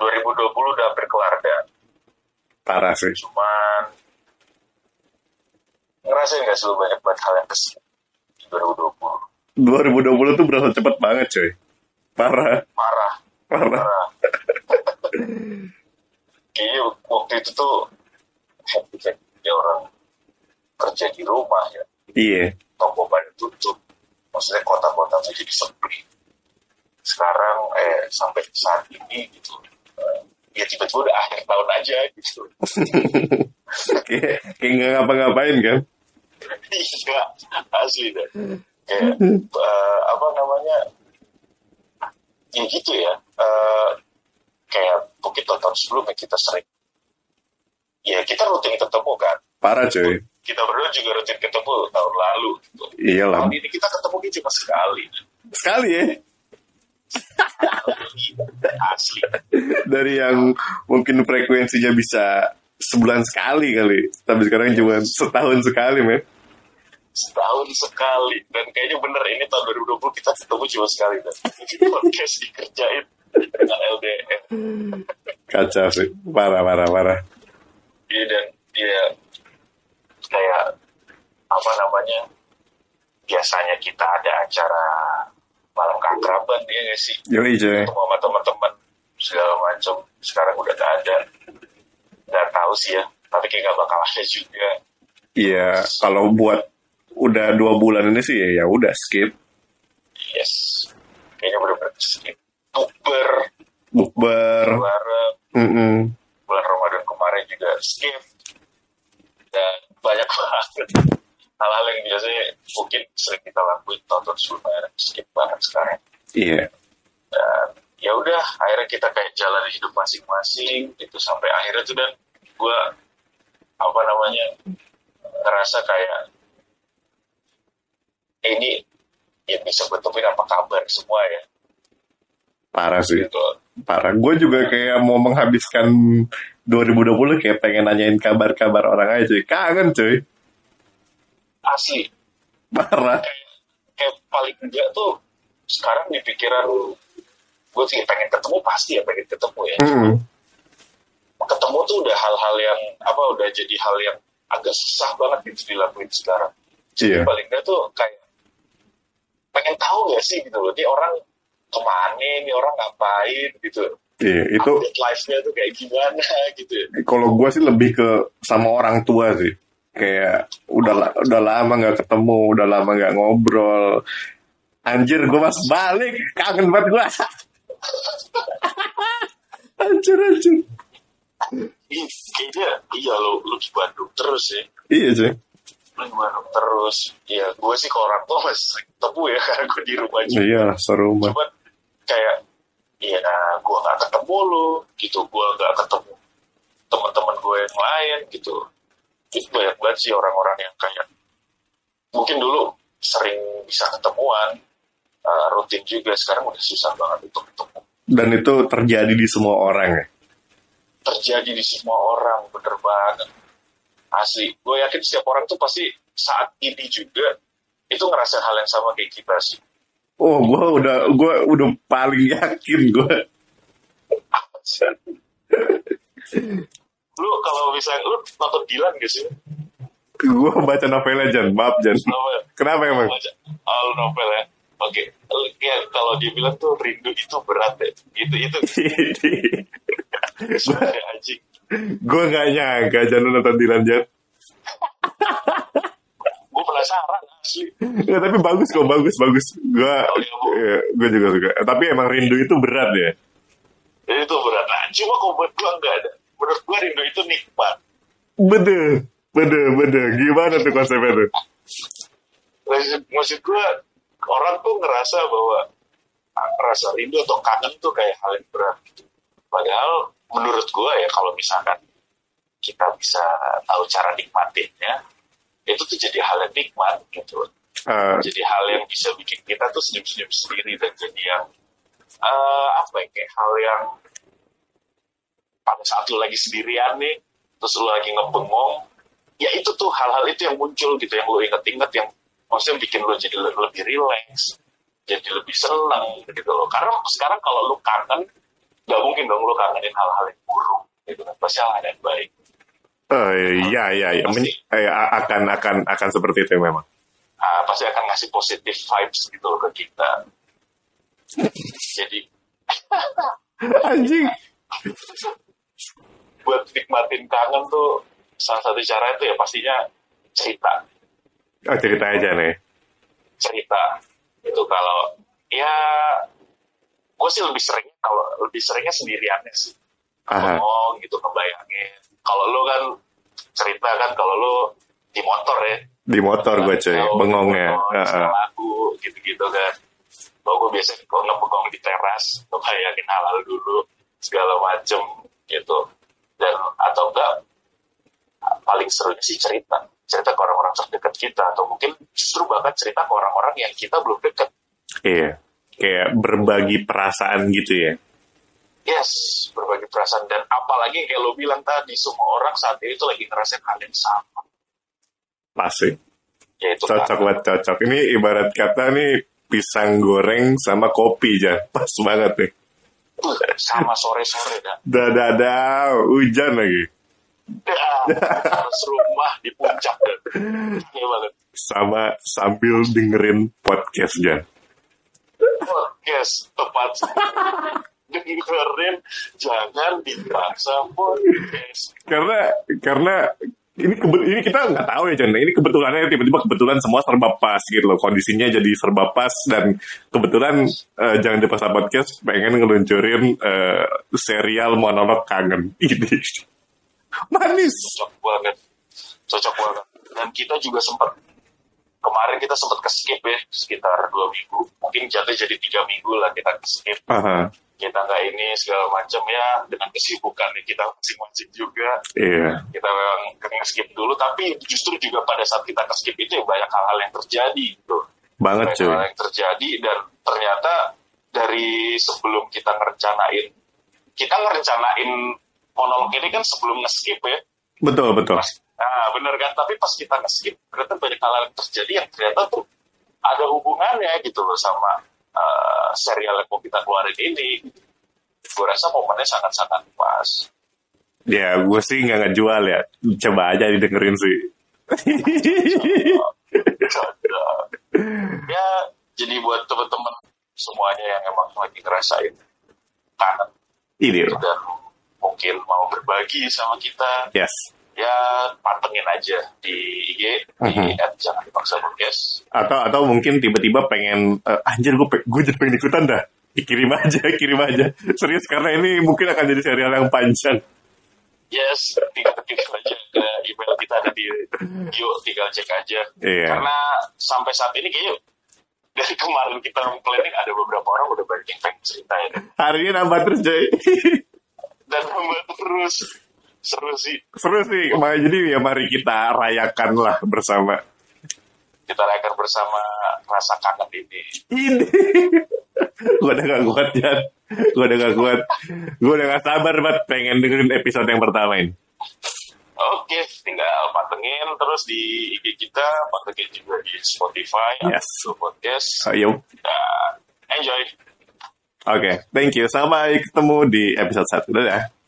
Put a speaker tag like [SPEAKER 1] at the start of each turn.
[SPEAKER 1] 2020 udah hampir kelar dan
[SPEAKER 2] Parah sih.
[SPEAKER 1] cuman ngerasain gak sih lu banyak banget hal yang kesini di 2020
[SPEAKER 2] 2020 tuh berasa cepet banget coy. Parah,
[SPEAKER 1] parah
[SPEAKER 2] parah.
[SPEAKER 1] parah kayaknya Iya, waktu itu tuh ya orang kerja di rumah ya
[SPEAKER 2] Iya.
[SPEAKER 1] toko pada tutup maksudnya kota-kota tuh jadi sepi sekarang eh sampai saat ini gitu eh, ya tiba-tiba udah akhir tahun aja gitu
[SPEAKER 2] kayak kayak nggak ngapa-ngapain kan.
[SPEAKER 1] iya asli deh kayak eh, apa namanya ya gitu ya Eh, kayak mungkin tahun sebelumnya kita sering ya kita rutin ketemu kan
[SPEAKER 2] Parah coy.
[SPEAKER 1] kita berdua juga rutin ketemu tahun lalu gitu.
[SPEAKER 2] Iyalah.
[SPEAKER 1] tahun ini kita ketemu cuma sekali
[SPEAKER 2] Sekali ya.
[SPEAKER 1] asli
[SPEAKER 2] Dari yang mungkin frekuensinya bisa sebulan sekali kali. Tapi sekarang cuma setahun sekali men.
[SPEAKER 1] setahun sekali dan kayaknya bener ini tahun 2020 kita ketemu cuma sekali dan podcast dikerjain dengan LDR
[SPEAKER 2] Kacau sih. Parah, parah, parah.
[SPEAKER 1] Iya dan dia kayak apa namanya biasanya kita ada acara malam keakraban dia nggak sih
[SPEAKER 2] Yoi coy.
[SPEAKER 1] ketemu sama teman-teman segala macam sekarang udah gak ada nggak tahu sih ya tapi kayak gak bakal ada juga
[SPEAKER 2] Iya, kalau buat udah dua bulan ini sih ya ya udah skip.
[SPEAKER 1] yes kayaknya bener-bener skip bukber
[SPEAKER 2] Bukber.
[SPEAKER 1] bareng
[SPEAKER 2] Mm-mm.
[SPEAKER 1] bulan Ramadan kemarin juga skip dan banyak banget hal-hal yang biasanya mungkin sering kita lakuin tahun sebelum akhirnya skip banget sekarang
[SPEAKER 2] Iya.
[SPEAKER 1] dan ya udah akhirnya kita kayak jalan hidup masing-masing itu sampai akhirnya tuh dan gue apa namanya ngerasa kayak ini ya bisa gue temuin apa kabar semua ya
[SPEAKER 2] Parah sih.
[SPEAKER 1] gitu
[SPEAKER 2] Parah. Gue juga kayak mau menghabiskan 2020 kayak pengen nanyain kabar-kabar orang aja. cuy. Kangen cuy.
[SPEAKER 1] asli
[SPEAKER 2] Parah.
[SPEAKER 1] kayak kayak paling enggak tuh sekarang di pikiran gue sih pengen ketemu pasti ya pengen ketemu ya
[SPEAKER 2] Mm.
[SPEAKER 1] ketemu tuh udah hal-hal yang apa udah jadi hal yang agak susah banget gitu dilakuin sekarang
[SPEAKER 2] Iya.
[SPEAKER 1] paling enggak tuh kayak pengen tahu gak sih gitu loh ini orang kemana ini orang ngapain gitu
[SPEAKER 2] Iya. Itu
[SPEAKER 1] update life-nya tuh kayak gimana gitu
[SPEAKER 2] kalau gue sih lebih ke sama orang tua sih. Kayak udah la- udah lama nggak ketemu, udah lama nggak ngobrol. Anjir, gue mas balik. Kangen banget gue. anjir, anjir.
[SPEAKER 1] Ih, kayaknya iya lo lu di Bandung terus ya
[SPEAKER 2] Iya cuy.
[SPEAKER 1] lu di Bandung terus ya gue sih ke orang tua masih sering ketemu ya karena gue di rumah juga
[SPEAKER 2] Iya, serumah.
[SPEAKER 1] cuman kayak ya gue gak ketemu lu gitu gue gak ketemu teman-teman gue yang lain gitu itu banyak banget sih orang-orang yang kayak mungkin dulu sering bisa ketemuan eh, rutin juga sekarang udah susah banget untuk ketemu
[SPEAKER 2] Dan itu terjadi di semua orang ya.
[SPEAKER 1] terjadi di semua orang bener banget asli gue yakin setiap orang tuh pasti saat ini juga itu ngerasain hal yang sama kayak kita sih
[SPEAKER 2] Oh, gue udah gua udah paling yakin gue.
[SPEAKER 1] lu kalau bisa lu nonton Dilan gak sih?
[SPEAKER 2] Gue baca novelnya Jan, maaf Jan.
[SPEAKER 1] Novel.
[SPEAKER 2] Kenapa emang?
[SPEAKER 1] Baca ah, lu novel ya. Oke. Lu- Ya, kalau dia bilang tuh rindu itu berat ya. Itu itu sebenarnya anjing.
[SPEAKER 2] gue nggak nyangka Jan lu nonton Dilan Jan.
[SPEAKER 1] Gue penasaran asli.
[SPEAKER 2] Ya, tapi bagus kok, bagus, bagus. Gue gue juga suka. Eh, Tapi emang rindu itu berat ya.
[SPEAKER 1] Itu berat. Nah, cuma kalau buat gue enggak ada. Menurut gue rindu itu nikmat.
[SPEAKER 2] Bener, bener, bener. Gimana tuh konsepnya tuh?
[SPEAKER 1] Maksud, maksud gue orang tuh ngerasa bahwa ah, rasa rindu atau kangen tuh kayak hal yang berat gitu. Padahal menurut gue ya kalau misalkan kita bisa tahu cara nikmatinnya, itu tuh jadi hal yang nikmat gitu.
[SPEAKER 2] Ah,
[SPEAKER 1] jadi hal yang bisa bikin kita tuh senyum-senyum sendiri dan jadi yang eh, apa ya kayak hal yang pada saat lu lagi sendirian nih terus lu lagi ngebengong ya itu tuh hal-hal itu yang muncul gitu yang lu inget-inget yang maksudnya bikin lu jadi le- lebih relax jadi lebih senang gitu loh karena sekarang kalau lu kangen nggak mungkin dong lo kangenin hal-hal yang buruk gitu kan pasti hal yang baik
[SPEAKER 2] Oh, iya, iya, iya. Men- eh, a- akan, akan, akan seperti itu memang.
[SPEAKER 1] Ah, pasti akan ngasih positive vibes gitu loh ke kita jadi
[SPEAKER 2] Anjing.
[SPEAKER 1] buat nikmatin kangen tuh salah satu cara itu ya pastinya cerita
[SPEAKER 2] Oh, cerita aja nih.
[SPEAKER 1] cerita itu kalau ya gue sih lebih sering kalau lebih seringnya sendiriannya sih
[SPEAKER 2] Aha.
[SPEAKER 1] ngomong gitu ngebayangin kalau lo kan cerita kan kalau lo di motor ya
[SPEAKER 2] Di motor gue cuy,
[SPEAKER 1] Atau
[SPEAKER 2] bengong ya.
[SPEAKER 1] bengong,
[SPEAKER 2] Heeh.
[SPEAKER 1] setel lagu gitu-gitu kan kalau gue biasanya kalau ngebengong di teras ngebayangin hal-hal dulu segala macem gitu dan atau enggak paling serunya sih cerita cerita ke orang-orang terdekat kita atau mungkin justru bahkan cerita ke orang-orang yang kita belum dekat
[SPEAKER 2] Iya. Kayak berbagi perasaan gitu ya.
[SPEAKER 1] Yes, berbagi perasaan dan apalagi kayak lo bilang tadi semua orang saat ini tuh lagi ngerasain hal yang sama,
[SPEAKER 2] Pasti.
[SPEAKER 1] yaitu
[SPEAKER 2] Cocok
[SPEAKER 1] kangen.
[SPEAKER 2] banget, cocok. Ini ibarat kata nih pisang goreng sama kopi aja. Pas banget nih.
[SPEAKER 1] Tuh, sama sore-sore dah.
[SPEAKER 2] Dadada, hujan lagi.
[SPEAKER 1] Dah, Ya, harus rumah di puncak dan ini banget.
[SPEAKER 2] Sama sambil dengerin podcast Jan.
[SPEAKER 1] Podcast tepat dengerin jangan dipaksa podcast.
[SPEAKER 2] karena karena ini kebe- ini kita nggak tahu ya Jan. Ini kebetulannya tiba-tiba kebetulan semua serba pas gitu loh. Kondisinya jadi serba pas dan kebetulan eh, jangan dipaksa podcast pengen ngeluncurin eh, serial monolog kangen gitu. Manis.
[SPEAKER 1] cocok banget cocok banget dan kita juga sempat kemarin kita sempat ke skip ya sekitar dua minggu mungkin jatuh jadi tiga minggu lah kita ke skip
[SPEAKER 2] Aha,
[SPEAKER 1] kita nggak ini segala macam ya dengan kesibukan yang kita masing-masing juga
[SPEAKER 2] iya.
[SPEAKER 1] kita memang kena skip dulu tapi justru juga pada saat kita ke skip itu ya banyak hal-hal yang terjadi gitu
[SPEAKER 2] Banget
[SPEAKER 1] banyak
[SPEAKER 2] cuy.
[SPEAKER 1] hal yang terjadi dan ternyata dari sebelum kita ngerencanain kita ngerencanain monolog ini kan sebelum nge-skip ya
[SPEAKER 2] Betul, betul.
[SPEAKER 1] pas nah, bener kan tapi pas kita nge-skip ternyata banyak hal yang terjadi yang ternyata tuh ada hubungannya gitu loh sama eh, serial yang mau kita keluarin ini gue rasa momennya sangat-sangat pas
[SPEAKER 2] Ya, gue sih nggak ngejual ya. Coba aja didengerin sih.
[SPEAKER 1] Canda. ya Iya, jadi buat teman-teman semuanya yang emang lagi ngerasain kangen
[SPEAKER 2] ini loh.
[SPEAKER 1] dan mungkin mau berbagi sama kita
[SPEAKER 2] Yes.
[SPEAKER 1] ya pantengin aja di IG di at jangan dipaksa podcast
[SPEAKER 2] atau atau mungkin tiba-tiba pengen eh, anjir gue gue jadi pengen ikutan dah dikirim aja kirim aja serius karena ini mungkin akan jadi serial yang panjang
[SPEAKER 1] Yes, tinggal ketik aja ke email kita ada di bio, tinggal cek aja.
[SPEAKER 2] Iya.
[SPEAKER 1] Karena sampai saat ini kayaknya dari kemarin kita planning ada beberapa orang udah banyak yang pengen cerita ya.
[SPEAKER 2] hari ini nambah terus Jay
[SPEAKER 1] Dan membuat terus seru sih
[SPEAKER 2] seru sih Ma- jadi ya mari kita rayakan lah bersama
[SPEAKER 1] kita rayakan bersama rasa kangen ini.
[SPEAKER 2] ini gue udah gak kuat Jan gue udah gak kuat gue udah gak sabar banget pengen dengerin episode yang pertama ini
[SPEAKER 1] Oke, tinggal pantengin terus di IG kita, pantengin juga di Spotify,
[SPEAKER 2] Yes.
[SPEAKER 1] Apple Podcast.
[SPEAKER 2] ayo oke
[SPEAKER 1] Dan enjoy.
[SPEAKER 2] thank you sampai ketemu di episode 1 dadah